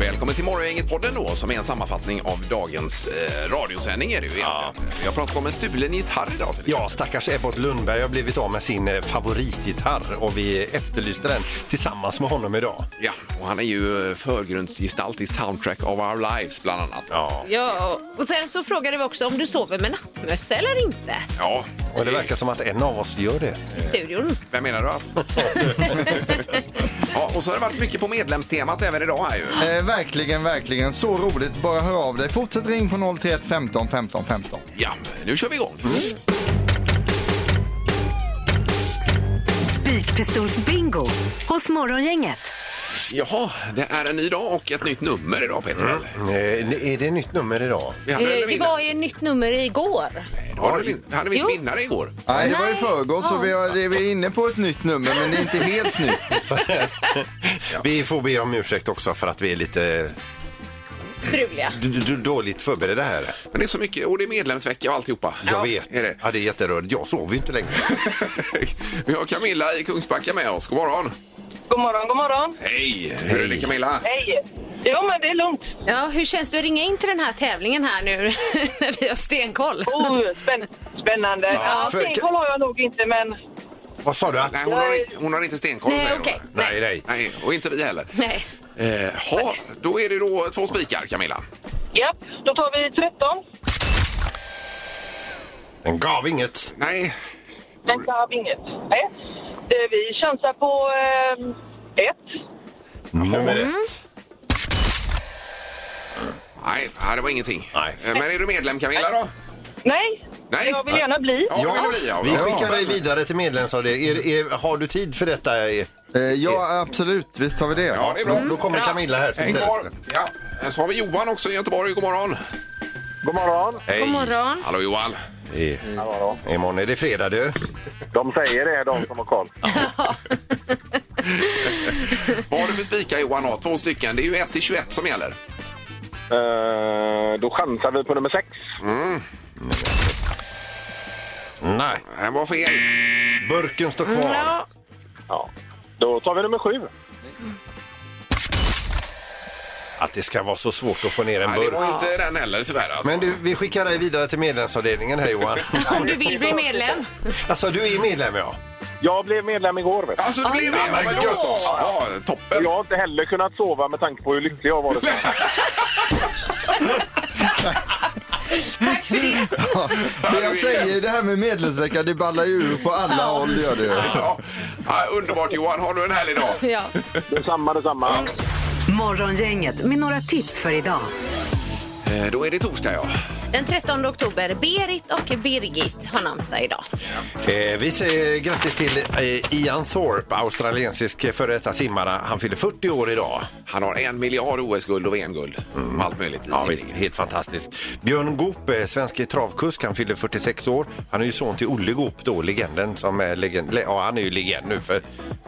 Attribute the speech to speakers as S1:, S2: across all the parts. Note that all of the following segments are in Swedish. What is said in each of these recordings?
S1: Välkommen till Morgongänget-podden då, som är en sammanfattning av dagens eh, radiosändning är det ju egentligen. Jag pratat om en stulen gitarr idag. till exempel.
S2: Ja, stackars Ebbot Lundberg har blivit av med sin eh, favoritgitarr och vi efterlyste den tillsammans med honom idag.
S1: ja. Och han är ju eh, förgrundsgestalt i Soundtrack of Our Lives bland annat.
S2: Ja.
S3: Ja, och sen så frågade vi också om du sover med nattmössa eller inte
S1: Ja.
S2: Och det verkar som att en av oss gör det.
S3: i studion.
S1: Vem menar du att? ja, och så har det varit mycket på medlemstemat även idag här ju.
S4: Eh, verkligen, verkligen. Så roligt. Bara hör av dig. Fortsätt ring på 031 15 15 15.
S1: Ja, nu kör vi igång.
S5: Spikpistolsbingo hos Morgongänget.
S1: Jaha, det är en ny dag och ett nytt nummer idag Peter. eller?
S2: Eh, är det nytt nummer idag?
S1: Vi hade
S3: Eh,
S1: en
S3: Det
S1: vinnare.
S3: var ju ett nytt nummer igår.
S1: Det var väl in- hade vi
S3: Jo.
S1: inte vinnare igår?
S4: Nej, det var i
S3: Nej.
S4: förrgår så vi, har, det- vi är inne på ett nytt nummer men det är inte helt nytt.
S2: Vi får be om ursäkt också för att vi är lite
S3: Struliga.
S2: d- d- dåligt förberedda här.
S1: Men det är så mycket, och det är medlemsvecka och alltihopa.
S2: Jag vet.
S1: Är det?
S2: Ja, det är jätterörigt. Jag sover ju inte längre.
S1: Vi har Camilla i Kungsbacka med oss. God morgon!
S6: God morgon, god morgon.
S1: Hej! Hur är det Camilla?
S6: Hej. Jo, men det är lugnt.
S3: Ja, hur känns det att ringa in till den här tävlingen här nu när vi har stenkoll?
S6: Oh, spänn spännande. Ja,
S2: för-
S6: Stenkoll har jag nog inte, men...
S2: Vad sa du? Att...
S1: Nej, hon, har inte, hon har inte stenkoll
S3: Nej,
S1: säger hon.
S3: okej.
S2: Nej, nej.
S1: Nej, och inte vi heller.
S3: Nej.
S1: Eh, ha, då är det då två spikar Camilla.
S6: Japp, då tar vi 13.
S2: Den gav inget.
S1: Nej,
S6: Den gav inget. Nej. Eh, Vi chansar på eh, ett.
S2: Nummer ett.
S1: nej, nej, det var ingenting.
S2: Nej.
S1: Eh, Men är du medlem Camilla då?
S6: Nej,
S1: Nej.
S6: jag vill gärna bli.
S1: Ja, det vill vi. Ja,
S2: vi
S1: bra.
S2: skickar dig vidare till medlemsavdelningen. Är, är, har du tid för detta? Ja,
S4: Eh, ja, absolut. Visst har vi det.
S1: Ja, det är bra.
S2: Mm, Då kommer Camilla här.
S1: Häng
S2: till
S1: kvar. Ja. eh, Så har vi Johan också i Göteborg. God morgon!
S7: God morgon.
S2: Hej.
S3: God morgon.
S1: Hallå Johan!
S2: I, imorgon är det fredag du.
S7: De säger det, de som har koll.
S1: Vad har du för spikar Johan? Ja, Två stycken. Det är ju 1 till 21 som gäller.
S7: Eh, då chansar vi på nummer sex.
S2: Nej.
S1: Det var fel.
S2: Burken står kvar.
S3: Ja,
S7: Ja. Då tar vi nummer sju.
S2: Att det ska vara så svårt att få ner en
S1: Nej, det
S2: burk.
S1: var inte den heller tyvärr. Alltså.
S2: Men du, vi skickar dig vidare till medlemsavdelningen här Johan.
S3: om du vill bli medlem.
S2: Alltså du är medlem ja.
S7: Jag blev medlem igår. Vet du.
S1: Alltså det blev det! Ja, men då så. Ja,
S7: Och
S1: toppen!
S7: Jag har inte heller kunnat sova med tanke på hur lycklig jag har varit.
S3: Tack för det.
S4: Det jag säger, det här med medlemsvecka, det ballar ju ur på alla håll gör det.
S1: Ja. Ja, underbart Johan, har du en härlig dag?
S3: Ja.
S7: Detsamma, detsamma.
S5: Morgongänget med några tips för idag.
S1: Eh, Då är det torsdag ja.
S3: Den 13 oktober. Berit och Birgit har namnsdag idag.
S2: Eh, vi säger grattis till eh, Ian Thorpe, australiensisk före detta simmare. Han fyller 40 år idag.
S1: Han har en miljard OS-guld och VM-guld. och Allt möjligt. i
S2: Ja,
S1: sin
S2: visst,
S1: liga.
S2: helt fantastisk. Björn Goop, eh, svensk travkusk, han fyller 46 år. Han är ju son till Olle Goop då, legenden som är legend. le- Ja, han är ju legend nu för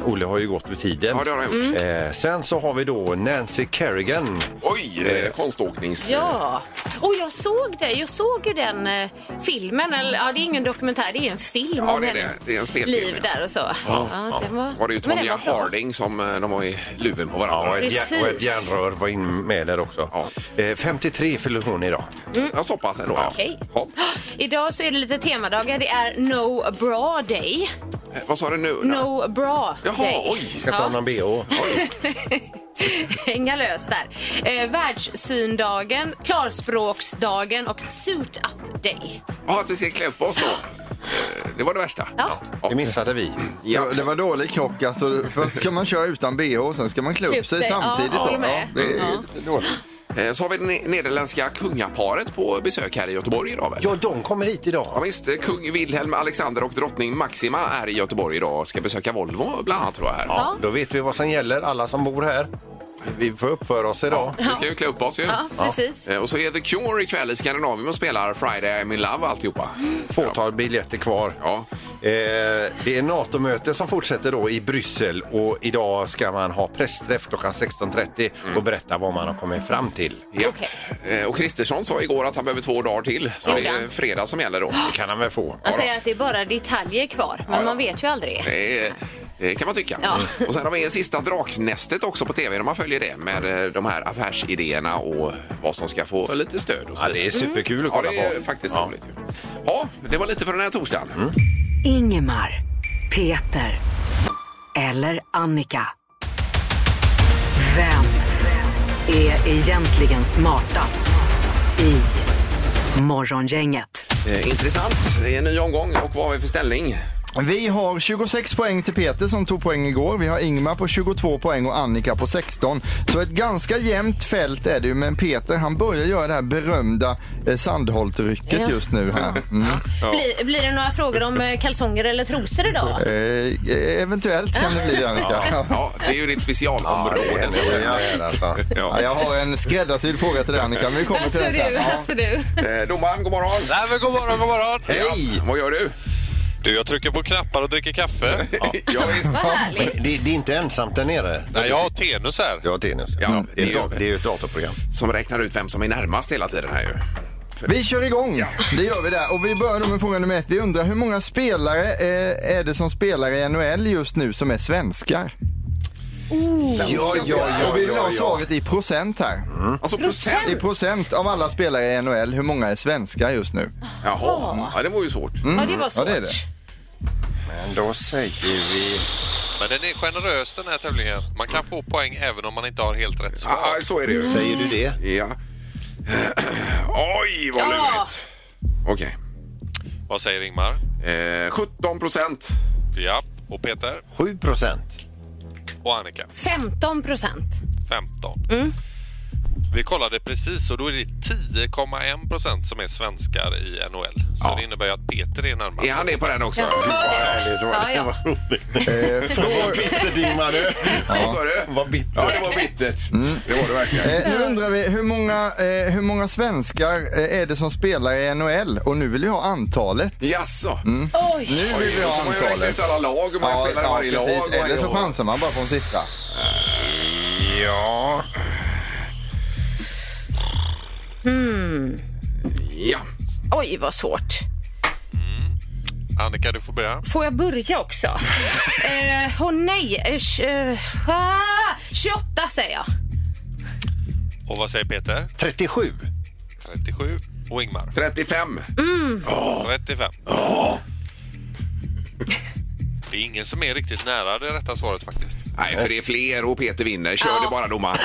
S2: Olle har ju gått ur tiden.
S1: Ja, det har han gjort. Mm.
S2: Eh, sen så har vi då Nancy Kerrigan.
S1: Oj, eh, konståknings...
S3: Ja, och jag såg det. Jag såg ju den eh, filmen. Eller, ja, det är ingen dokumentär, det är ju en film
S1: Ja,
S3: om
S1: det är det.
S3: hennes
S1: Det är en spelfilm,
S3: liv
S1: ja.
S3: där och så. Ja, den var,
S1: Var det ju
S3: men den
S1: Tonya
S3: var bra.
S1: Harding som eh, de har i luven på varandra.
S2: Ja, och ett, jär,
S3: Precis.
S2: och ett järnrör var in med där också.
S1: Ja.
S2: Eh, 53 fyller hon idag.
S1: Jag så pass ändå. ja.
S3: Mm. Okej.
S1: Ja.
S3: Idag så är det lite temadagar. Det är No Bra Day.
S1: Eh, Vad sa du nu?
S3: No Bra
S1: Jaha,
S3: Day.
S1: oj.
S2: Ska ta någon bh?
S3: Hänga lös där. Eh, världssyndagen, klarspråksdagen och Suit Up Day.
S1: Ja, att vi ska klä upp oss då. Eh, Det var det värsta.
S3: Ja.
S2: Det missade vi.
S1: Ja.
S4: Det- Det var dålig krock alltså. Först ska man köra utan bh, sen ska man klä upp sig samtidigt.
S3: Ja,
S4: då.
S3: håller med.
S4: det är
S3: Ja.
S4: lite dåligt.
S1: Eh, Så har vi det ne- nederländska kungaparet på besök här i Göteborg idag väl?
S2: Ja, de kommer hit
S1: Ja,
S2: idag.
S1: visst, eh, kung Wilhelm Alexander och drottning Maxima är i Göteborg idag och ska besöka Volvo bland annat tror jag. Här.
S2: Ja, då vet vi vad som gäller, alla som bor här. Vi får uppföra oss idag.
S1: Vi ska ju klä upp oss ju.
S3: Ja, precis.
S1: Eh, Och så är The
S3: Mm,
S1: Cure ikväll i Skandinavien och spelar Friday I'm in love och alltihopa.
S2: Fåtal biljetter kvar.
S1: Ja.
S2: Eh, det är NATO-möte som fortsätter då i Bryssel och idag ska man ha pressträff klockan 16.30 och berätta vad man har kommit fram till.
S1: Ja.
S3: Okej.
S1: Eh, Och Kristersson sa igår att han behöver två dagar till. Så
S3: Gjorde
S1: det är
S3: han?
S1: fredag som gäller då.
S2: Det kan han väl få.
S3: Han säger att det är bara detaljer kvar, men man vet ju aldrig.
S1: Det är- Det kan man tycka.
S3: Ja.
S1: Och sen har vi sista Draknästet också på tv när man följer det med eh, de här affärsidéerna och vad som ska få lite stöd och så
S2: Ja, det är
S1: vidare.
S2: superkul att
S1: Ja,
S2: kolla
S1: det är
S2: på.
S1: faktiskt
S2: Ja. Mm.
S1: roligt ju. Ja, det var lite för den här torsdagen.
S5: Ingemar, Peter eller Annika. Vem är egentligen smartast i Morgongänget?
S1: Eh, intressant. Det är en ny omgång och vad har vi för ställning?
S4: Vi har 26 poäng till Peter som tog poäng igår. Vi har Ingmar på 22 poäng och Annika på 16. Så ett ganska jämnt fält är det ju. Men Peter han börjar göra det här berömda eh, Sandholt-rycket
S3: Ja.
S4: just nu här. Mm.
S3: Blir, blir det några frågor om eh, kalsonger eller trosor idag?
S4: Eh, eh, eventuellt kan det bli det Annika. Ja.
S1: Ja, det är ju ditt specialområde.
S2: det är
S1: så att
S2: det.
S1: säga.
S2: Ja, alltså.
S4: Ja, jag har en skräddarsydd fråga till dig Annika, men vi kommer
S3: Alltså
S4: till den sen.
S3: du,
S4: Ja.
S3: alltså du.
S1: Eh, Domaren, god morgon!
S8: Nej, men god morgon, god morgon!
S1: Ja, vad gör du?
S8: Du, jag trycker på knappar och dricker kaffe.
S1: Ja, visst.
S3: Vad
S2: Men
S3: härligt.
S2: det, det är inte ensamt där nere.
S8: Nej, jag har Tenus här.
S2: Ja, Tenus.
S1: Ja,
S2: det, är ett,
S1: det gör
S2: da-
S1: vi.
S2: det är ju ett datorprogram.
S1: Som räknar ut vem som är närmast hela tiden här ju.
S4: Vi kör igång, det gör vi där. Och vi börjar då med fråga nummer ett. Vi undrar hur många spelare eh, är det som spelar i NHL just nu som är svenskar?
S2: Ja, ja, ja,
S4: Och vi vill
S2: ja,
S4: ha
S2: ja.
S4: svaret i procent här.
S1: Alltså procent!
S4: I procent av alla spelare i NHL, hur många är svenskar just nu?
S1: Jaha, ja, det var ju svårt.
S3: Ja, det var
S4: Mm. Ja,
S3: svårt.
S4: det är det.
S2: Men då säger vi...
S8: Men den är generös den här tävlingen. Man kan få poäng även om man inte har helt rätt svar.
S1: Ja, så är det ju.
S2: Säger du det?
S1: Ja. Oj, vad
S3: Ja.
S1: lurigt! Okej.
S8: Vad säger Ingmar?
S1: Eh, 17 procent.
S8: Ja. Och Peter?
S2: 7 procent.
S8: Och Annika?
S3: 15 procent.
S8: 15. Vi kollade precis och då är det 10,1 procent som är svenskar i NHL. Så
S1: Ja.
S8: det innebär ju att Peter är närmast.
S1: Är han det på den också?
S3: Ja.
S2: Härligt, vad,
S3: Ja, ja.
S2: vad roligt. Vad bitter Ingmar du.
S1: Vad sa du?
S2: Vad Mm. bitter.
S1: Ja, det var bittert. Det var det verkligen.
S4: Eh, nu undrar vi hur många, eh, hur många svenskar eh, är det som spelar i NHL? Och nu vill vi ha antalet.
S1: Jaså?
S2: Mm.
S4: Nu
S3: Oj!
S4: vill vi
S1: Då
S4: ha
S1: får man ju räkna
S4: antalet.
S1: ut alla lag och man spelar i varje lag. och varje
S4: Eller så
S1: år.
S4: chansar man bara på en siffra.
S1: Ja. Ja.
S3: Oj, vad svårt.
S8: Annika, du får börja.
S3: Får jag börja också? eh, åh nej. Eh, tj- eh, ah, 28 säger jag.
S8: Och vad säger Peter?
S2: 37.
S8: 37. Och Ingmar?
S1: 35.
S8: 35. Det är ingen som är riktigt nära det rätta svaret faktiskt.
S1: Nej, för det är fler och Peter vinner. Kör
S3: Ja.
S1: det bara domaren.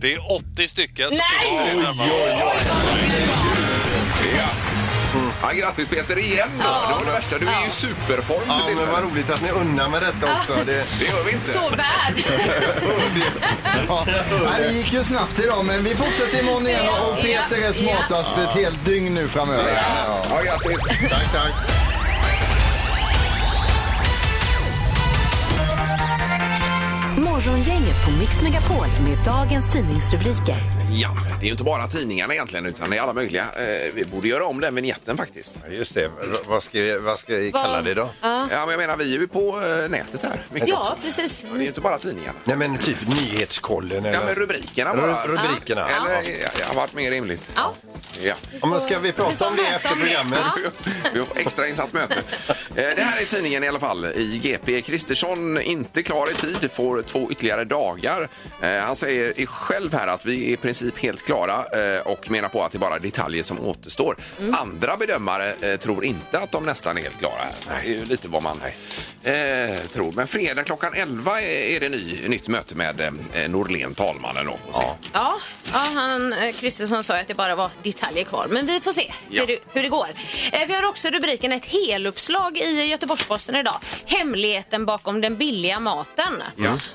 S8: Det är 80 stycken. som
S3: Nej!
S8: är närmare.
S1: Ja. Ja, grattis Peter igen då. Det var det värsta. Du är ju i superform
S2: Ja,
S1: för
S2: men
S1: tillfället.
S2: vad roligt att ni unnar med detta också. Det,
S1: Det gör vi inte.
S3: Så värd.
S4: Ja. Nej, det gick ju snabbt idag, men vi fortsätter imorgon igen och Peter är smartast ett helt dygn nu framöver. Ja.
S1: Ja, grattis.
S2: tack, tack.
S5: Morgongänget på Mix Megapol med dagens tidningsrubriker.
S1: Ja, det är ju inte bara tidningarna egentligen utan det är alla möjliga. Eh, vi borde göra om den vignetten faktiskt.
S2: Just det. V- Vad ska, vi- vad ska vi kalla det då?
S1: Ja, men jag menar vi är ju på eh, nätet här. Mycket
S3: Ja,
S1: också.
S3: precis.
S1: Det är ju inte bara tidningarna.
S2: Nej, men typ nyhetskollen eller...
S1: Ja, men rubrikerna
S2: Ru-
S1: bara.
S2: rubrikerna.
S1: Eller, ja. det har varit mer rimligt.
S3: Ja.
S1: Ja.
S2: Ja, men ska vi
S3: Vi får
S2: prata om det
S3: prata
S2: efter
S3: om det.
S2: programmet?
S3: Ja.
S1: Vi har extra insatt möte. Eh, Det här är tidningen i alla fall. I GP. Kristersson inte klar i tid, får två ytterligare dagar. Eh, Han säger i själv här att vi är i princip helt klara eh, och menar på att det är bara detaljer som återstår.
S3: Mm.
S1: Andra bedömare eh, tror inte att de nästan är helt klara. Här. Så Det är ju lite vad man eh, tror. Men fredag klockan 11 är är det ny, nytt möte med eh, Norlén, talmannen. Då, får se.
S3: Ja, ja han, eh, Kristersson sa ju att det bara var detaljer kvar. Men vi får se
S1: Ja.
S3: hur, det- hur det går. Eh, vi har också rubriken ett heluppslag i Göteborgs-Posten idag. Hemligheten bakom den billiga maten.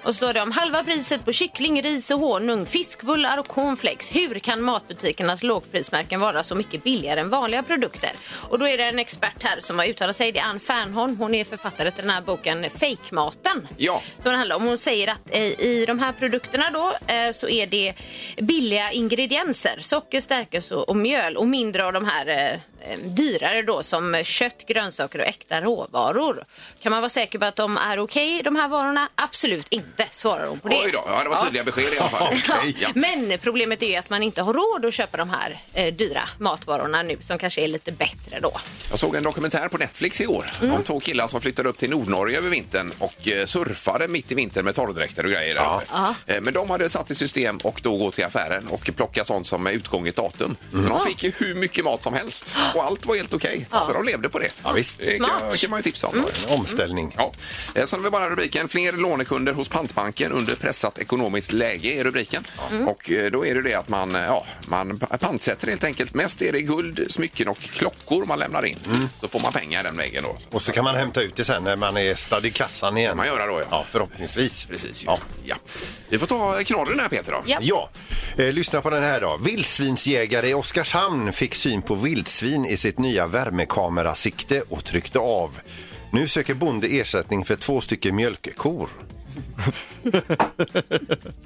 S3: Och så står det om halva priset på kyckling, ris och honung, fiskbullar och cornflakes. Hur kan matbutikernas lågprismärken vara så mycket billigare än vanliga produkter? Och då är det en expert här som har uttalat sig. Det är Ann Fernholm. Hon är författare till den här boken Fejkmaten
S1: Ja.
S3: som det handlar om. Hon säger att eh, i de här produkterna då eh, så är det billiga ingredienser. Socker, stärkelse och, och mjöl och mindre av de här eh, eh, dyrare då som kött, grönsaker och äkta råvaror. Kan man vara säker på att de är okej de här varorna? Absolut inte, svarar hon på det.
S1: Oj då, ja, det var tydliga besked i alla fall.
S3: Ja,
S1: Ja.
S3: Men problemet är ju att man inte har råd att köpa de här eh, dyra matvarorna nu som kanske är lite bättre då.
S1: Jag såg en dokumentär på Netflix igår
S2: Mm.
S1: om två killar som flyttade upp till Nordnorge över vintern och eh, surfade mitt i vintern med torrdräkter och grejer. Där uppe. Eh, Men de hade satt i system och då gå till affären och plocka sånt som är utgånget datum. Så de fick ju hur mycket mat som helst och allt var helt okej. Så de levde på det.
S2: Mm. Ja, Mm. visst.
S1: Det kan,
S3: Smart.
S1: kan man ju tipsa om.
S2: En omställning.
S1: Ja. Eh, Sen har vi bara rubriken Fler lånekunder hos pantbanken under pressat ekonomiskt läge är rubriken. Och eh, då är det det att man, eh, ja, man pa- pantsätter helt enkelt. Mest är det guld, smycken och klockor man lämnar in.
S4: Mm.
S1: Så får man pengar den vägen då.
S2: Och så kan man hämta ut det sen när man är stad i kassan igen.
S1: man göra då, ja.
S2: förhoppningsvis.
S1: Precis ju.
S2: Ja.
S1: Ja. Vi får ta eh, knorren här Peter då.
S3: Ja.
S2: Ja, eh, lyssna på den här då. Vildsvinsjägare i Oskarshamn fick syn på vildsvin i sitt nya värmekamerasikt och tryckte av. Nu söker bonde ersättning för två stycken mjölkkor.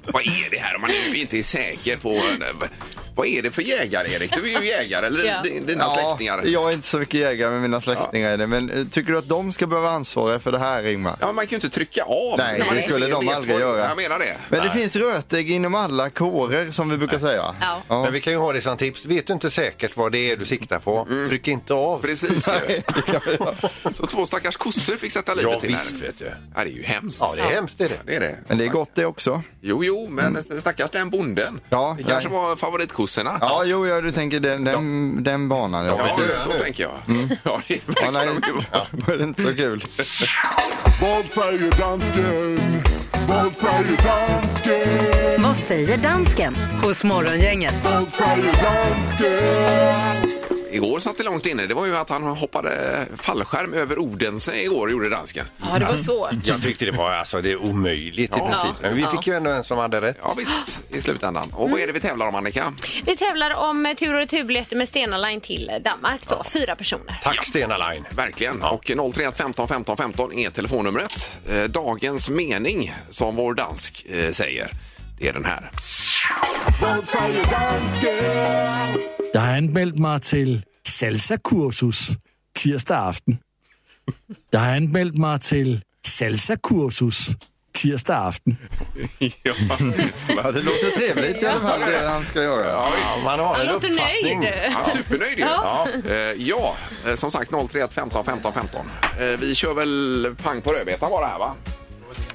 S1: Vad är det här om man nu inte är säker på... eh, Vad är det för jägare Erik? Du är ju jägare, eller
S3: Ja.
S1: di- dina släktingar.
S4: jag är inte så mycket jägare med mina släktingar i det, men eh, tycker du att de ska behöva ansvara för det här Ingmar?
S1: Ja, man kan ju inte trycka av.
S4: Nej,
S1: När man
S4: det
S1: inte
S4: skulle de
S1: vet
S4: aldrig
S1: vad-
S4: göra.
S1: Jag menar det.
S4: Men det finns rötägg inom alla kårer som vi brukar säga.
S3: Ja.
S2: Men vi kan ju ha det som tips. Vet du inte säkert vad det är du siktar på, tryck inte av.
S1: Mm. Precis ju. Så två stackars kossor fick sätta livet
S2: Ja,
S1: till
S2: visst,
S1: här.
S2: vet du.
S1: Ja, det är ju hemskt.
S2: Ja, det är hemskt. Det är det.
S1: Det är det.
S4: Men det är gott det också.
S1: Jo, jo, men stackars den bonden.
S4: Ja,
S1: det kanske
S4: nej.
S1: var favoritkossorna.
S4: Ja, jo, ja, du tänker den, den, den banan. Ja,
S1: Ja,
S4: precis.
S1: så tänker jag. Ja, det
S4: Ja,
S1: verkar
S4: nej,
S1: nog vara. ja.
S4: det är inte så kul.
S9: Vad säger dansken? Vad säger dansken?
S5: Vad säger dansken hos Morgongänget?
S9: Vad säger dansken?
S1: Igår satt det långt inne. Det var ju att han hoppade fallskärm över Odense igår, gjorde dansken.
S3: Ja, det var
S1: Mm.
S3: svårt.
S2: Jag tyckte det var alltså, det är omöjligt i princip. Men vi fick ju ändå en som hade rätt.
S1: Ja, visst, i slutändan. Och vad är det vi tävlar om, Annika?
S3: Vi tävlar om eh, tur och returbiljetter med Stena Line till Danmark då, fyra personer.
S2: Tack Stena Line.
S1: Verkligen. Och 031 15 15 15 är telefonnumret. Eh, Dagens mening, som vår dansk eh, säger, det är den här.
S9: Vad säger dansken?
S6: Jag har anmält mig till salsa-kursus tisdag afton. Jag har anmält mig till salsa-kursus tisdag afton.
S4: Ja, det låter trevligt i alla fall, det han ska göra.
S2: Ja, man har
S3: Han
S2: en
S3: låter
S2: uppfattning.
S3: nöjd.
S1: Ja, supernöjd ju. Ja. Eh, ja, eh, som sagt 031 15 15 15. Eh, vi kör väl pang på rödbetan bara här va?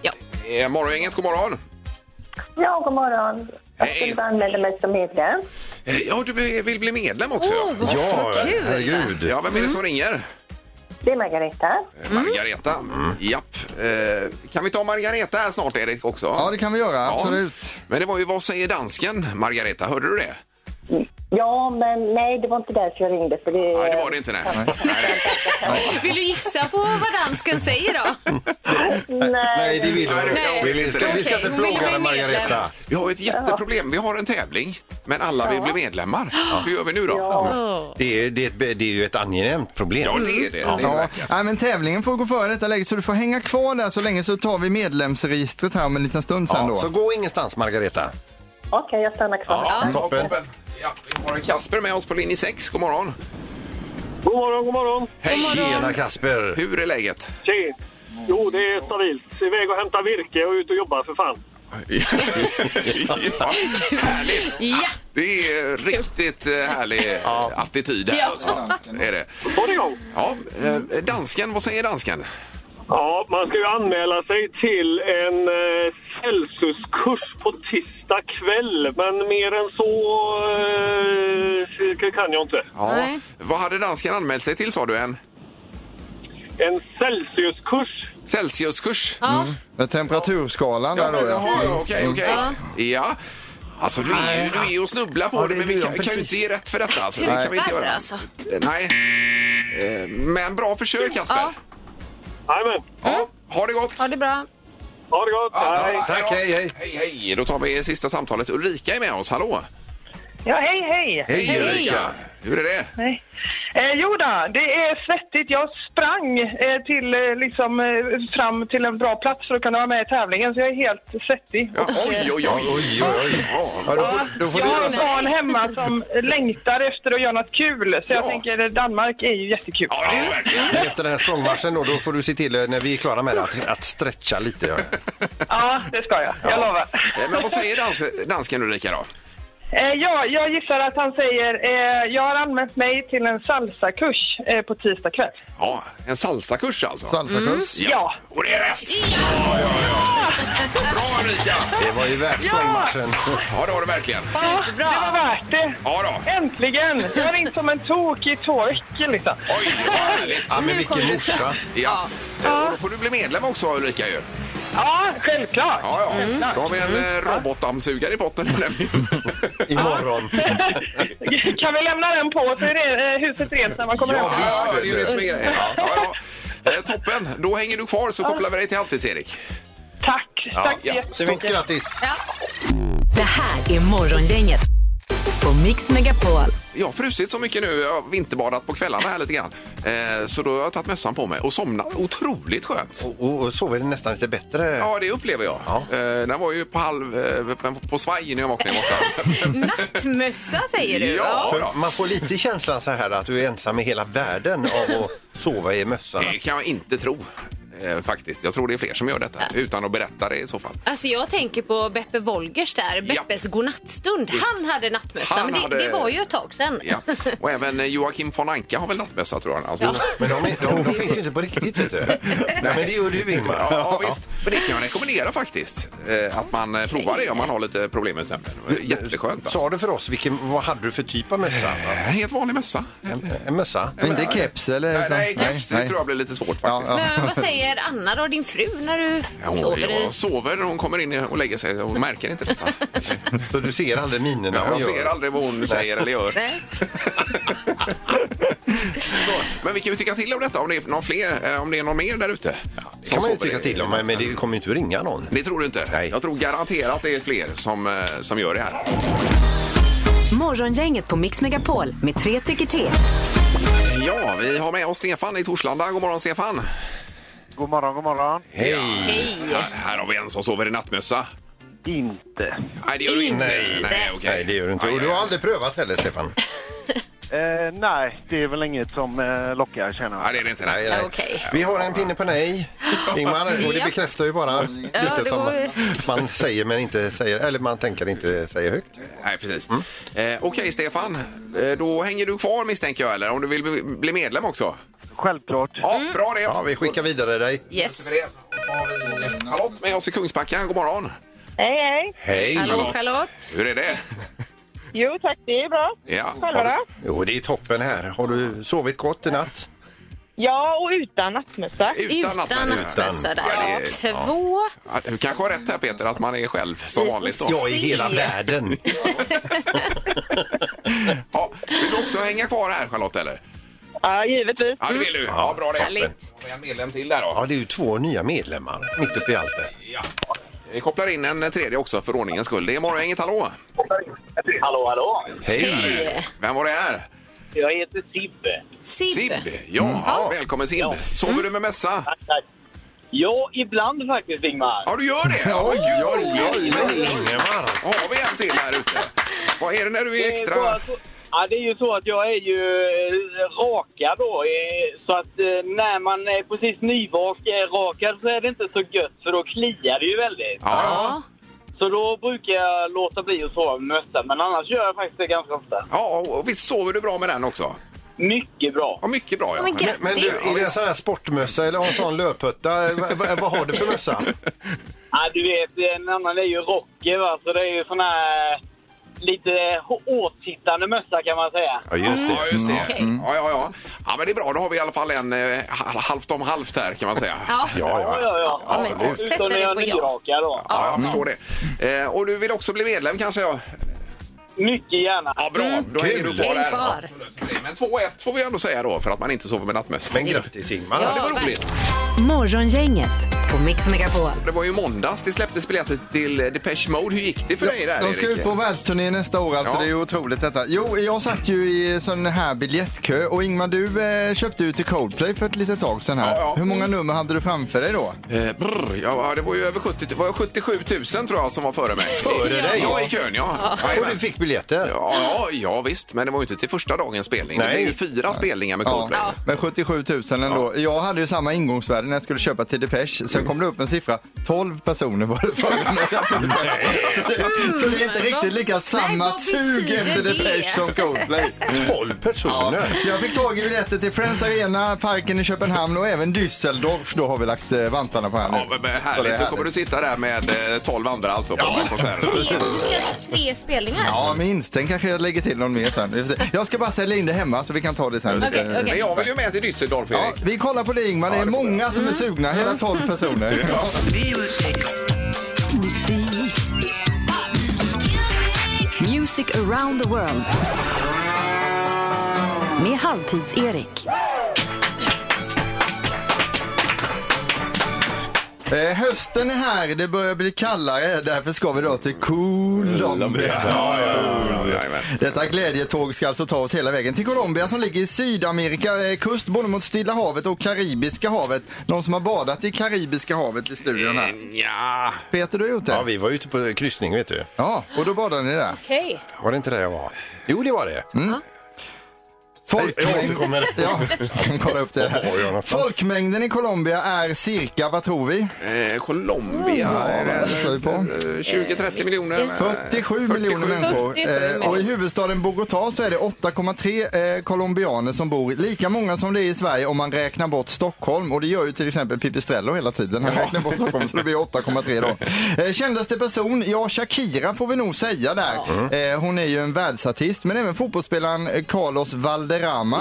S3: Ja.
S1: Eh, morgongänget, god morgon.
S6: Ja, god morgon. Jag
S1: Hej.
S6: skulle anmäla mig som medlem.
S1: Eh, ja, du be- vill bli medlem också. ja.
S2: Ja,
S3: kul.
S2: herregud.
S1: ja, vem är det som ringer?
S6: Det är Margareta.
S1: Eh, Margareta.
S4: Mm.
S1: Japp. Eh, kan vi ta Margareta här snart Erik också?
S4: Ja, det kan vi göra, absolut.
S1: Men det var ju Vad säger dansken? Margareta, hörde du det?
S6: Ja, men nej, det var inte därför jag ringde. För det,
S1: Nej, det var det inte. Nej.
S3: Vill du gissa på vad dansken säger då?
S2: Nej, det vill
S1: Nej,
S2: hon
S1: det
S2: inte.
S1: vill
S2: Vi ska,
S1: inte.
S2: vi ska inte
S3: Okej, hon vill
S2: plåga
S3: bli
S2: dig, Margareta.
S3: medlem.
S1: Vi har ju ett jätteproblem. Vi har en tävling, men alla vill bli medlemmar. Hur gör vi nu då?
S2: Det är, det, är ett, det är ju ett angenämt problem.
S1: Ja, det är det. det, är
S4: Ja,
S1: verkligen.
S4: nej, men tävlingen får gå före detta läge så du får hänga kvar där så länge så tar vi medlemsregistret här om en liten stund sen
S2: Ja, så
S4: då.
S2: gå ingenstans, Margareta.
S6: Okej, jag stannar kvar.
S1: Ja,
S2: toppen.
S1: Ja, vi har Kasper med oss på linje 6. God morgon.
S7: God morgon, god morgon.
S2: Tjena, Kasper.
S1: Hur är läget?
S7: Tje. Jo, det är stabilt. Iväg och hämta virke och ut och jobba för fan.
S1: ja, härligt!
S3: Ja,
S1: Det är riktigt eh, härlig attityd här.
S3: Ja.
S1: Alltså. Det Är det.
S7: Var det igång?
S1: Ja, eh, dansken, vad säger dansken?
S7: Ja, man ska ju anmäla sig till en eh, Celsiuskurs på tisdag kväll. Men mer än så eh, kan jag inte.
S1: Ja.
S3: Nej.
S1: Vad hade dansken anmält sig till sa du? En
S7: En Celsiuskurs.
S1: Celsiuskurs?
S4: Med temperaturskalan där då.
S1: Jaha,
S4: Ja.
S1: okej, okej. Ja. Alltså du är ju du är ju och snubblar på
S2: Ja,
S1: det,
S2: det
S1: men
S2: är
S1: vi
S2: ju
S1: kan,
S2: jag,
S1: kan ju
S2: precis.
S1: inte ge rätt för detta. Alltså. Det kan vi inte
S3: Tyvärr,
S1: göra.
S3: alltså.
S1: Nej. Eh, Men bra försök Kasper.
S3: Ja.
S7: Jajamän.
S1: Ja. Ha det gott!
S3: ha det bra.
S7: Ha det gott. Hej.
S2: Tack, hej, hej.
S1: Ah, Hej, hej! Då tar vi sista samtalet. Ulrika är med oss. Hallå!
S6: Ja, hej, hej.
S1: Hej, Ulrika! Hur är det?
S6: Nej. Eh, jo då, det är svettigt. Jag sprang eh, till, eh, liksom, eh, fram till en bra plats för att kunna vara med i tävlingen, så jag är helt svettig.
S1: Ja, oj, oj, oj, oj, oj.
S2: Ja, då får, då får
S6: Jag
S2: du
S6: har
S2: göra
S6: ett
S2: så.
S6: barn hemma som längtar efter att göra något kul, så jag
S1: Ja.
S6: tänker eh, Danmark är ju jättekul.
S1: Ja, det är det verkligen.
S2: Men efter den här språngmarschen då, då får du se till eh, när vi är klara med det att, att stretcha lite. Ja.
S6: Ja, det ska jag. Jag lovar.
S1: Eh, Men vad säger dans, dansken Ulrika då?
S6: Eh, ja, jag gissar att han säger eh, jag har anmält mig till en salsakurs eh, på tisdag kväll.
S1: Ja, en salsakurs alltså?
S4: Salsakurs.
S6: Ja.
S1: Och det är rätt! Ja, ja, ja. Bra Ulrika!
S2: Det var ju värt språngmarschen.
S1: Ja, det har du verkligen.
S6: Superbra. Det var värt det.
S1: Ja då.
S6: Äntligen! Jag har ringt som en tok i två veckor liksom.
S1: Oj, vad härligt!
S2: Ja, men
S3: Nu
S2: vilken
S3: kommer det
S2: morsa.
S1: Ja. Eh, Och då får du bli medlem också Ulrika ju.
S6: Ja, självklart.
S1: Ja, ja.
S2: Mm.
S1: Då har vi en eh, robotdammsugare i potten. nämligen.
S2: Imorgon.
S6: kan vi lämna den på så är det, eh, huset rent när man kommer
S2: Ja,
S6: hem?
S1: ja, det är ju det som är grejen. Ja, ja, ja. Eh, Toppen! Då hänger du kvar så kopplar vi dig till halvtids Erik.
S6: Tack! Tack
S1: ja.
S2: Stort
S6: jättemycket.
S2: grattis!
S5: Det här är Morgongänget på Mix Megapol.
S1: Jag har frusit så mycket nu, jag har vinterbadat på kvällarna här lite grann. Eh, Så då har jag tagit mössan på mig och somnat otroligt skönt.
S2: Och, och så är det nästan lite bättre.
S1: Ja, det upplever jag.
S2: Ja.
S1: Eh, Den var ju på halv... eh, på svaj när jag vaknade i morse.
S3: Nattmössa säger du?
S1: Ja.
S2: För man får lite känslan så här att du är ensam i hela världen av att sova i mössa.
S1: Det kan jag inte tro. eh, Faktiskt. Jag tror det är fler som gör detta utan att berätta det i så fall.
S3: Alltså jag tänker på Beppe Wolgers där, Beppes godnattstund.
S1: Visst.
S3: Han hade nattmössa,
S1: Han
S3: men det,
S1: hade-
S3: det var ju ett tag sedan.
S1: Ja. Och även eh, Joakim von Anka har väl nattmössa tror jag. Alltså,
S2: Men de, är, de, de finns ju inte på riktigt vet du. Nej, men det gör du Ingmar.
S1: Ja, ja, visst. Men det kan jag rekommendera faktiskt. Eh, Att man eh, provar det om man har lite problem med sömnen. Jätteskönt. Alltså.
S2: Sa du för oss vilken, vad hade du för typ av mössa?
S1: En helt vanlig mössa.
S2: Eh,
S1: Eller?
S2: En mössa?
S4: Inte keps eller?
S1: Nej,
S4: utan-
S1: nej, keps. Det tror jag blir lite svårt faktiskt.
S4: Ja,
S3: Men vad säger Anna då, din fru, när du
S1: Ja, hon
S3: sover i?
S1: jag sover när hon kommer in och lägger sig. Hon märker inte detta.
S2: Så du ser aldrig minerna hon
S1: Jag
S2: gör.
S1: ser aldrig vad hon säger eller gör.
S3: Nej.
S1: Så, men vi kan ju tycka till om detta om det är någon fler, eh, om det är någon mer där ute.
S2: Det kan man ju tycka till om, men men det kommer ju inte att ringa någon.
S1: Det tror du inte? Jag tror garanterat det är fler som, eh, som gör det här.
S5: Morgongänget på Mix Megapol med tre tycker till.
S1: Ja, vi har med oss Stefan i Torslanda. God morgon Stefan!
S6: God morgon, god morgon.
S2: Hej!
S1: Här, här har vi en som sover i nattmössa.
S6: Inte.
S1: Nej, det gör du inte. Nej, nej, okej.
S2: Nej, det gör du inte.
S1: Aj,
S2: Och du har
S1: aj,
S2: aldrig prövat heller, Stefan?
S6: Eh, nej, det är väl inget som eh, lockar känner
S1: Nej, det är det inte. Nej.
S3: Okej.
S2: Vi har en pinne på nej, Ingmar, och det bekräftar ju bara lite
S3: det
S2: som
S3: går ju-
S2: man säger men inte säger, eller man tänker inte säga högt.
S1: Nej, precis.
S2: Mm.
S1: Eh, okej, Stefan. Eh, då hänger du kvar misstänker jag, eller om du vill bli- bli medlem också?
S6: Självklart.
S1: Ja, bra det.
S2: Mm. Ja, vi skickar vidare dig.
S3: Yes.
S1: Charlotte med oss i Kungsbacka. God morgon!
S6: Hej, hej.
S1: Hej
S3: Hallå Charlotte.
S1: Hur är det?
S6: Jo tack, det är bra.
S1: Ja.
S6: Själva
S1: Har
S6: då?
S2: Jo, det är toppen här. Har du sovit gott i natt?
S6: Ja, och utan nattmössa.
S1: du-
S3: Utan
S1: nattmössa.
S3: nattmössa där.
S1: Ja, det-
S3: Ja, två.
S1: Ja, Du kanske har rätt här Peter, att man är själv som
S3: Vi får
S1: vanligt. Då.
S3: se.
S2: Ja, i hela världen.
S1: Ja, vill du också hänga kvar här Charlotte eller?
S6: Ja, givetvis.
S1: Ja, det vill du. Ja, bra det.
S3: Härligt.
S1: Har vi en medlem till där då?
S2: Mm. Ja, det är ju två nya medlemmar mitt uppe i allt det.
S1: Ja. Vi kopplar in en tredje också för ordningens skull. Det är Morgongänget, hallå!
S6: Hallå, hallå.
S3: Hej.
S1: Vem var det här?
S6: Jag heter Sibbe.
S3: Sib.
S1: Sib! Mm. Ja, Mm. välkommen Sib! Sover du med mössa?
S6: Ja, ibland faktiskt, Ingmar.
S1: Ja, du gör det? Ja, oj, gud vad roligt!
S2: Men Ingemar,
S1: Då har vi en till här ute. Vad är det när du är
S6: Det är så
S1: extra...
S6: att- Ja, det är ju så att jag är ju eh, rakad då. eh, Så att eh, när man är precis nyrakad så är det inte så gött för då kliar det ju väldigt.
S1: Ja,
S6: Så då brukar jag låta bli att sova med mössa. Men annars gör jag faktiskt det ganska ofta.
S1: ja och visst sover du bra med den också?
S6: Mycket bra.
S1: Ja, mycket bra. Ja.
S3: Men grattis.
S2: men du, är det en sån här sportmössa eller har en sån löphötta? Va- va- Vad har du för mössa?
S6: Ja, du vet, en annan är ju rocker va. Så det är ju sån här lite åtsittande mössa kan man säga.
S2: Ja, just
S1: Ja, just det.
S3: Okej.
S1: Ja, ja, ja. ja, men det är bra. Då har vi i alla fall en eh, hal- halvt om halvt här kan man säga.
S3: Ja.
S2: Ja, ja.
S6: Ja, ja.
S1: Ja, men
S6: Utom
S3: sätter
S6: när
S3: det
S6: jag
S3: på
S6: är
S3: ja.
S6: nyrakad då.
S1: Ja, jag förstår det. Eh, och du vill också bli medlem kanske? Ja.
S7: Mycket gärna.
S1: Ja, bra. Då hänger du
S2: Kul.
S1: kvar
S3: En
S1: där. Ja,
S3: kvar.
S1: men 2-1 får vi ändå säga då, för att man inte sover med nattmössa.
S2: Men grattis Ingmar.
S1: Ja, det var roligt.
S5: Morgongänget på Mix Megapol.
S1: Det var ju måndags det släpptes biljetter till Depeche Mode. Hur gick det för dig där,
S4: De ska
S1: Erik?
S4: ut på världsturné nästa år alltså,
S1: Ja.
S4: det är ju otroligt detta. Jo, jag satt ju i sån här biljettkö och Ingmar du eh, köpte ju till Coldplay för ett litet tag sedan här.
S1: Ja, ja. Mm.
S4: Hur många nummer hade du framför dig då?
S1: Eh, brr, ja, det var ju över 70, det var 77 000 tror jag som var före mig.
S2: Före dig?
S1: Ja, i kön ja.
S2: Och du
S1: Jajamän.
S2: fick biljetter.
S1: Ja, ja, ja visst, men det var ju inte till första dagens spelning.
S2: Nej.
S1: Det är ju fyra spelningar med
S4: Ja,
S1: Coldplay.
S4: men 77 000 ändå. Jag hade ju samma ingångsvärde när jag skulle köpa till Depeche. Sen kom det upp en siffra. 12 personer var det före mig. så, det, så det är inte
S3: Mm,
S4: riktigt lika
S3: vad- Mm. Nej,
S4: samma
S3: vad
S4: sug
S3: betyder
S4: efter
S3: det?
S4: Depeche som Coldplay.
S2: 12
S4: Ja,
S2: personer.
S4: så jag fick tag i biljetter till Friends Arena, Parken i Köpenhamn och även Düsseldorf. Då har vi lagt eh, vantarna på här nu.
S1: Ja, men- men
S4: Så det är
S1: härligt. Då kommer du sitta där med eh, 12 andra alltså på ja.
S3: Tre,
S1: konserten.
S3: tre spelningar?
S4: Ja, minst. Sen kanske jag lägger till någon mer sen. Vi får se. Jag ska bara sälja in det hemma så vi kan ta det sen.
S3: Okej, okej.
S1: Men jag vill ju med till Düsseldorf,
S4: Ja,
S1: Erik.
S4: vi kollar på det Ingmar. Det
S1: Ja,
S4: är
S1: det får
S4: många som är sugna. Hela
S3: Mm.
S4: 12 personer.
S5: Music around the world. Med Halvtids-Erik.
S4: Eh, hösten är här, det börjar bli kallare. Därför ska vi då till Colombia.
S1: Jajamän.
S4: Detta glädjetåg ska alltså ta oss hela vägen till Colombia som ligger i Sydamerika, eh, kust både mot Stilla havet och Karibiska havet. Någon som har badat i Karibiska havet i studion
S1: Eh,
S4: här?
S1: Ja.
S4: Peter, du har gjort
S2: Mm. Ja,
S4: det?
S2: vi var ute på kryssning vet du.
S4: Ja, och då badade ni där.
S3: Okej.
S2: Var det inte där jag var? Jo, det var det. Jag
S4: Folkmäng...
S2: återkommer.
S4: Ja, kan kolla upp det
S2: Vad har jag
S4: här.
S2: någonstans?
S4: Folkmängden i Colombia är cirka, vad tror vi?
S1: Eh, Colombia. är det-
S4: det sa vi på.
S1: 20-30 miljoner. eh,
S4: 47 miljoner människor.
S3: 47
S4: Eh, och i huvudstaden Bogotá så är det 8,3 eh, colombianer som bor. Lika många som det är i Sverige om man räknar bort Stockholm. Och det gör ju till exempel Pipistrello hela tiden. Han räknar bort Stockholm så det blir 8,3 då. Eh, kändaste person? Ja, Shakira får vi nog säga där. Eh, hon är ju en världsartist. Men även fotbollsspelaren eh, Carlos Valderrama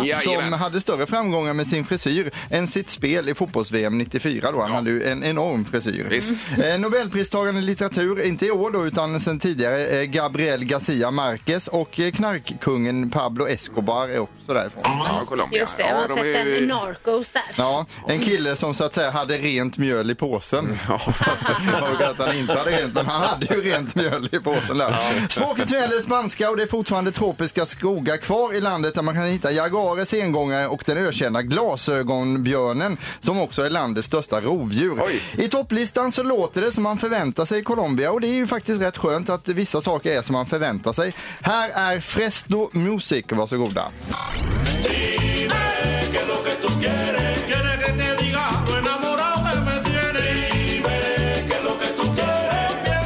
S1: Jajamän.
S4: som hade större framgångar med sin frisyr än sitt spel i fotbolls-VM 94 då. Han hade ju en enorm frisyr.
S1: Visst.
S4: Eh, Nobelpristagaren i litteratur, inte i år då utan sen tidigare, eh, Gabriel Garcia Marquez och eh, knarkkungen Pablo Escobar är också därifrån.
S1: Ja, Colombia.
S3: Just det,
S1: Ja,
S3: jag har
S1: de
S3: sett
S1: är ju-
S3: en Narcos där.
S4: Ja, en kille som så att säga hade rent mjöl i påsen. Jag vet att han inte hade rent, men han hade ju rent mjöl i påsen där. Språket nu gäller spanska och det är fortfarande tropiska skogar kvar i landet där man kan hitta jagarer, sengångare och den ökända glasögonbjörnen som också är landets största rovdjur.
S1: Oj.
S4: I topplistan så låter det som man förväntar sig i Colombia och det är ju faktiskt rätt skönt att vissa saker är som man förväntar sig. Här är Fresno Music, varsågoda.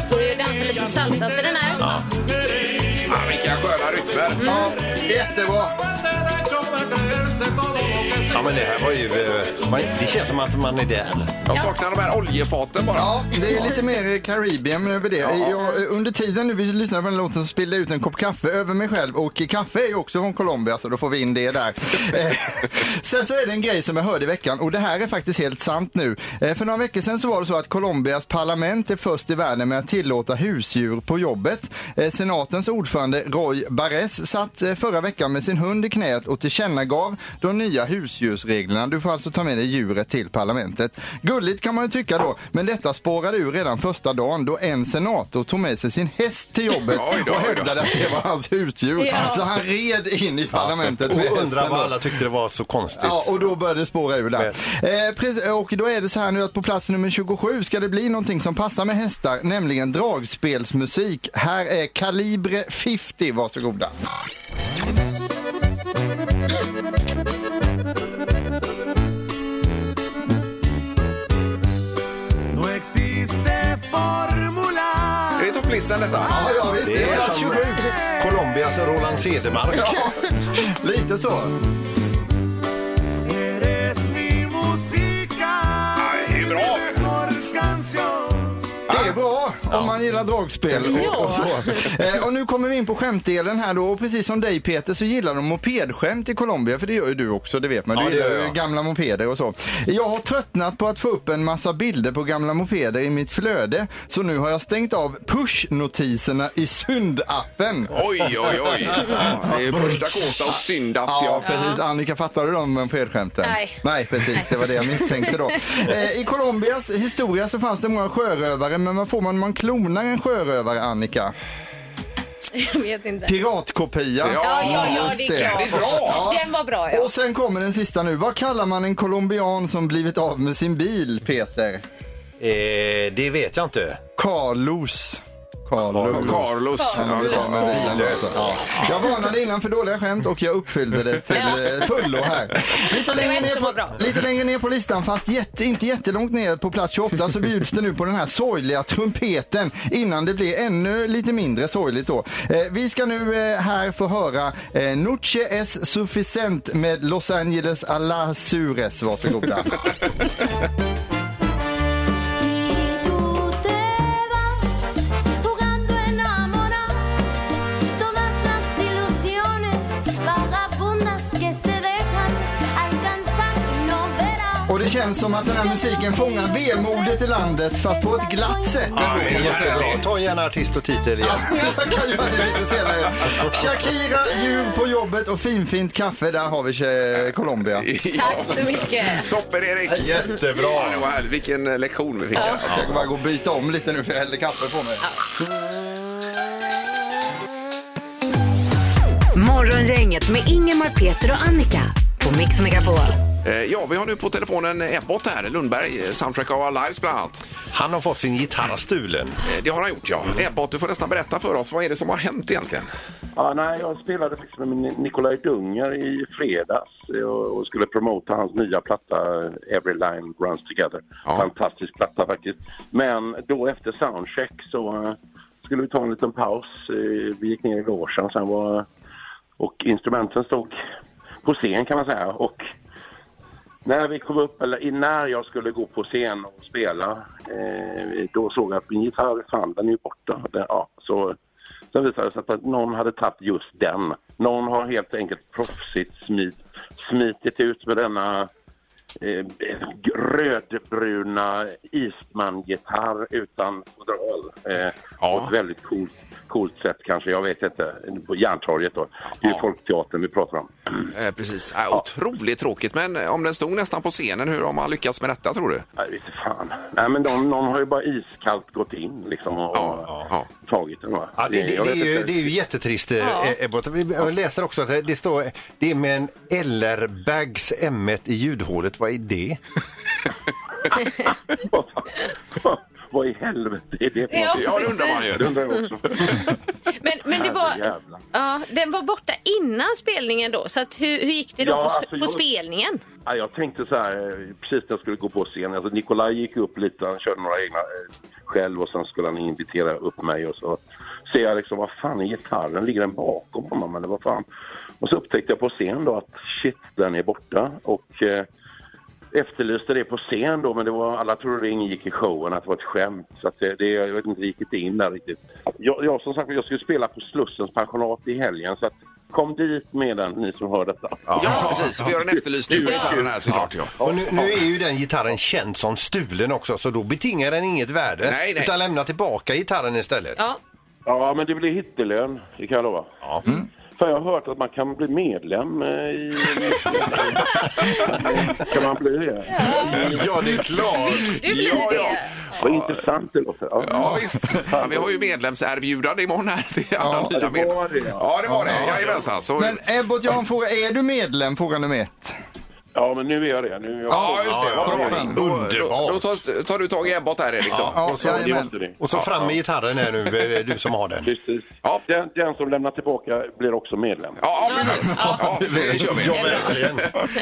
S3: Får ju dansa lite salsa till den här.
S1: Ja, vilka sköna rytmer.
S4: Ja, jättebra!
S2: Ja, men det här var ju... eh, Man, det känns som att man är där.
S1: Jag saknar de här oljefaten bara.
S4: Ja, det är lite mer Karibien över det. Jag, eh, under tiden nu vi lyssnade på den låten så spillde jag ut en kopp kaffe över mig själv och kaffe är ju också från Colombia så då får vi in det där. Eh, Sen så är det en grej som jag hörde i veckan och det här är faktiskt helt sant nu. Eh, För några veckor sedan så var det så att Colombias parlament är först i världen med att tillåta husdjur på jobbet. Eh, Senatens ordförande Roy Barres satt eh, förra veckan med sin hund i knät och tillkännagav de nya husdjursreglerna. Du får alltså ta med dig djuret till parlamentet. Gulligt kan man ju tycka då, men detta spårade ur redan första dagen då en senator tog med sig sin häst till jobbet
S1: Oj då,
S4: och
S1: oj då.
S4: hävdade att det var hans husdjur.
S3: Ja.
S4: Så han red in i parlamentet med
S2: Och
S4: hästen.
S2: undrar vad
S4: då.
S2: alla tyckte det var så konstigt.
S4: Ja, och då började det spåra ur där. Eh, precis, och då är det så här nu att på plats nummer 27 ska det bli någonting som passar med hästar, nämligen dragspelsmusik. Här är Calibre 50, varsågoda.
S1: Är det topplistan detta?
S4: Ja, ja visst, det
S2: Det
S4: är
S2: är
S4: väl
S2: plats
S4: som-
S2: 27. Colombias Roland Cedermark.
S4: Lite så.
S1: Ja,
S4: Det
S1: det är bra.
S4: är bra. om man gillar dragspel och, och så. Eh, och nu kommer vi in på skämtdelen här då. Och precis som dig Peter så gillar de mopedskämt i Colombia. För det gör ju du också, det vet man. Du
S2: Ja, det
S4: gillar
S2: gör
S4: ju
S2: jag.
S4: gamla mopeder och så. Jag har tröttnat på att få upp en massa bilder på gamla mopeder i mitt flöde. Så nu har jag stängt av push-notiserna i Synd-appen.
S1: Oj, oj, oj. Ja, det är första kåta och syndapp.
S4: Ja,
S1: Ja.
S4: precis. Annika, fattar du de mopedskämten?
S3: Nej.
S4: Nej, precis. Det var det jag misstänkte då. Eh, I Colombias historia så fanns det många sjörövare, men vad får man om man klonar en sjörövare, Annika?
S3: Jag vet inte.
S4: Piratkopia.
S1: Ja,
S3: ja, ja,
S4: Just
S3: det är klart.
S1: Det är bra.
S4: Ja.
S3: Den var bra, ja.
S4: Och sen kommer den sista nu. Vad kallar man en colombian som blivit av med sin bil, Peter?
S2: Eh, det vet jag inte.
S4: Carlos.
S1: Carlos. Ja,
S4: Ja,
S1: Carlos.
S4: men bilen alltså. Ja. Jag varnade innan för dåliga skämt och jag uppfyllde det till eh, fullo här. Lite längre,
S3: en
S4: ner
S3: som var bra.
S4: på, lite längre ner på listan, fast jätte, inte jättelångt ner på plats 28 så bjuds det nu på den här sorgliga trumpeten innan det blir ännu lite mindre sorgligt då. Eh, vi ska nu eh, här få höra eh, Noche es suficient med Los Angeles a las Sures. Varsågoda. Och det känns som att den här musiken fångar vemodet i landet fast på ett glatt sätt.
S1: Ja, det är jättebra.
S2: Jättebra. Ta gärna artist och titel igen.
S4: Jag kan göra det lite senare. Shakira, djur på jobbet och finfint kaffe. Där har vi eh, Colombia.
S3: Tack så mycket.
S1: Toppen, Erik.
S2: Jättebra.
S1: Ja, det var härligt. Vilken eh, lektion vi fick. här.
S4: Jag ska bara gå och byta om lite nu för jag häller kaffe på mig.
S5: Morgongänget med Ingemar, Peter och Annika på Mix Megapol.
S1: Eh, Ja, vi har nu på telefonen Ebbot här, Lundberg, eh, Soundtrack of Our Lives bland annat.
S2: Han har fått sin gitarr stulen.
S1: Eh, Det har han gjort, ja. Ebbot, du får nästan berätta för oss, vad är det som har hänt egentligen?
S7: Ja, nej, jag spelade faktiskt med Ni- Nikolaj Dunger i fredags eh, och och skulle promota hans nya platta eh, Every Line Runs Together.
S1: Ja.
S7: Fantastisk platta faktiskt. Men då efter soundcheck så eh, skulle vi ta en liten paus. Eh, Vi gick ner i logen sen var, och instrumenten stod på scen kan man säga. Och när vi kom upp, eller när jag skulle gå på scen och spela, eh, då såg jag att min gitarr, fan den är ju borta. Den, ja, så, sen visade det sig att någon hade tagit just den. Någon har helt enkelt proffsigt smit, smitit ut med denna eh, rödbruna Eastman-gitarr utan fodral. Eh,
S1: Ja.
S7: På ett väldigt coolt, coolt sätt kanske, jag vet inte. På Järntorget då. Det är ju
S1: Ja.
S7: Folkteatern vi pratar om.
S1: Eh, Precis. Ja, Otroligt tråkigt, men eh, om den stod nästan på scenen, hur har man lyckats med detta tror du?
S7: Nej, inte fan. Nej, men de, någon har ju bara iskallt gått in liksom och
S1: Ja,
S7: och
S1: ja.
S7: tagit den va?
S2: Ja, det, det,
S7: Jag
S2: det, är
S7: vet
S2: ju,
S7: inte.
S2: det är ju jättetrist, ja. Ebbot. Vi- Jag läser också att det står det är med en LR-bags M1 i ljudhålet. Vad är det?
S7: Vad i helvete är det för
S3: Ja.
S7: någonting?
S1: Ja, det undrar man
S7: Det
S1: ju.
S7: undrar jag också.
S3: Men, men det var...
S7: Herrejävlar.
S3: Ja, den var borta innan spelningen då, så att hur, hur gick det då
S7: Ja,
S3: på,
S7: alltså,
S3: på
S7: jag-
S3: spelningen?
S7: Ja, jag tänkte så här, eh, precis när jag skulle gå på scen. Alltså, Nikolaj gick upp lite, han körde några egna eh, själv och sen skulle han invitera upp mig och så ser jag liksom, vad fan är gitarren? Ligger den bakom honom eller vad fan? Och så upptäckte jag på scen då att shit, den är borta och eh, efterlyste det på scen då men det var, alla trodde det ingick i showen att det var ett skämt så att eh, det, det, jag vet inte riktigt in där riktigt. Jag, jag som sagt, jag skulle spela på Slussens pensionat i helgen så att kom dit med den, ni som hör detta.
S1: Ja, precis. Vi gör en efterlysning på gitarren här såklart. Ja.
S2: Och nu, nu är ju den gitarren känd som stulen också, så då betingar den inget värde.
S1: Nej, nej.
S2: Utan lämna tillbaka gitarren istället.
S3: Ja,
S7: Ja, men det blir hittelön, det kan jag lova. Ja. För jag har hört att man kan bli medlem eh, i... kan man bli det?
S2: Ja, det är klart.
S3: du blir
S1: Ja,
S3: det.
S1: ja.
S7: Vad intressant det låter. Ja.
S1: Ja, visst. Ja, vi har ju medlemserbjudande imorgon här till alla
S7: Ja,
S1: nya
S7: det var det,
S1: medlemmar.
S7: ja.
S1: Ja, det var det. Jajamensan. Så...
S4: Men Ebbot, jag har en fråga. Är du medlem? Fråga nummer ett.
S7: ja, men nu är jag det. Nu är jag...
S1: Ja, just det.
S2: Ja,
S1: Vad
S2: ja,
S1: bra.
S2: ja.
S1: Då,
S2: Underbart.
S1: då, då tar, tar du tag i Ebbot här, Erik. Då.
S4: Ja,
S7: det var
S4: jajamän.
S7: inte det.
S2: Och så fram med gitarren här nu, eh, du som har den.
S7: Precis.
S1: Ja.
S7: Den, den som lämnar tillbaka blir också medlem.
S1: Ja, ja, precis. Ja, det kör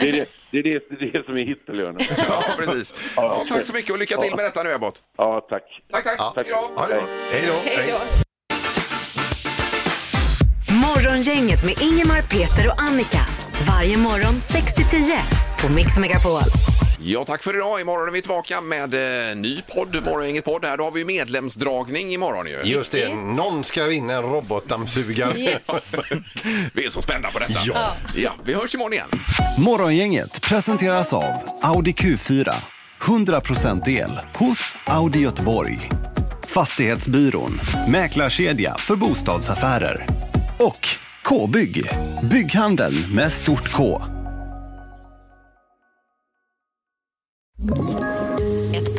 S1: vi.
S7: Det, är det, det, är det, det är det som är hittelönen.
S1: Ja, precis. Ja, tack så mycket och lycka till med detta nu, Ebbot.
S7: Ja, tack.
S1: Tack, tack.
S2: Ja.
S1: Hej då.
S2: Ha det bra. Hej då.
S3: Hej då.
S5: Morgongänget med Ingemar, Peter och Annika. Varje morgon 6 till 10 på Mix Megapol.
S1: Ja, tack för idag. Imorgon är vi tillbaka med eh, ny podd, Morgongänget podd. Här då har vi ju medlemsdragning imorgon ju.
S2: Just det, någon ska vinna en robotdammsugare.
S3: Yes.
S1: Vi är så spända på detta.
S2: Ja.
S1: ja vi hörs imorgon igen.
S10: Morgongänget presenteras av Audi Q4. 100% el hos Audi Göteborg. Fastighetsbyrån, mäklarkedja för bostadsaffärer. Och K-bygg, bygghandeln med stort K.
S5: Ett